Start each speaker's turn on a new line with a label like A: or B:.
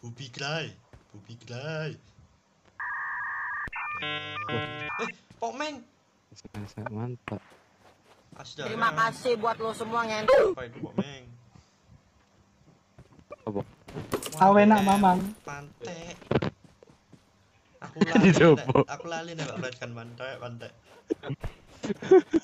A: Bubiklah, Bubiklah. Eh, Pokmeng.
B: Sangat mantap.
A: Astaga.
C: Terima kasih buat lo semua ngen.
A: Apa itu Pokmeng?
B: Apa?
D: Awena,
A: Pokmeng,
D: Mamang.
A: Pantek. Aku
B: Di
A: lali.
B: Jopo.
A: Nek. Aku lali nih Pak Fred kan pantek, pantek.